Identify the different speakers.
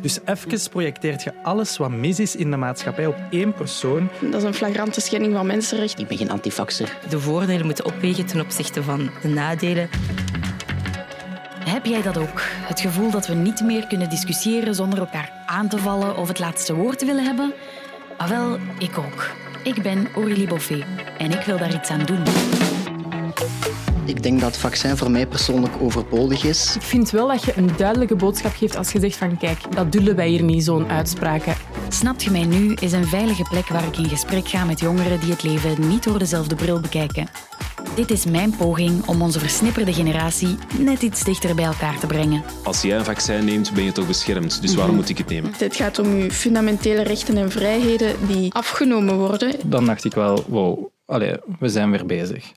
Speaker 1: Dus even projecteert je alles wat mis is in de maatschappij op één persoon.
Speaker 2: Dat is een flagrante schending van mensenrechten.
Speaker 3: Ik ben geen antifaxer.
Speaker 4: De voordelen moeten opwegen ten opzichte van de nadelen.
Speaker 5: Heb jij dat ook? Het gevoel dat we niet meer kunnen discussiëren zonder elkaar aan te vallen of het laatste woord te willen hebben? Ah wel, ik ook. Ik ben Aurélie Boffé en ik wil daar iets aan doen.
Speaker 3: Ik denk dat het vaccin voor mij persoonlijk overbodig is.
Speaker 6: Ik vind wel dat je een duidelijke boodschap geeft als je zegt van kijk, dat dullen wij hier niet, zo'n uitspraken.
Speaker 5: Snapt je mij nu is een veilige plek waar ik in gesprek ga met jongeren die het leven niet door dezelfde bril bekijken. Dit is mijn poging om onze versnipperde generatie net iets dichter bij elkaar te brengen.
Speaker 7: Als jij een vaccin neemt, ben je toch beschermd. Dus waarom moet ik het nemen?
Speaker 2: Dit gaat om uw fundamentele rechten en vrijheden die afgenomen worden.
Speaker 8: Dan dacht ik wel, wow, allee, we zijn weer bezig.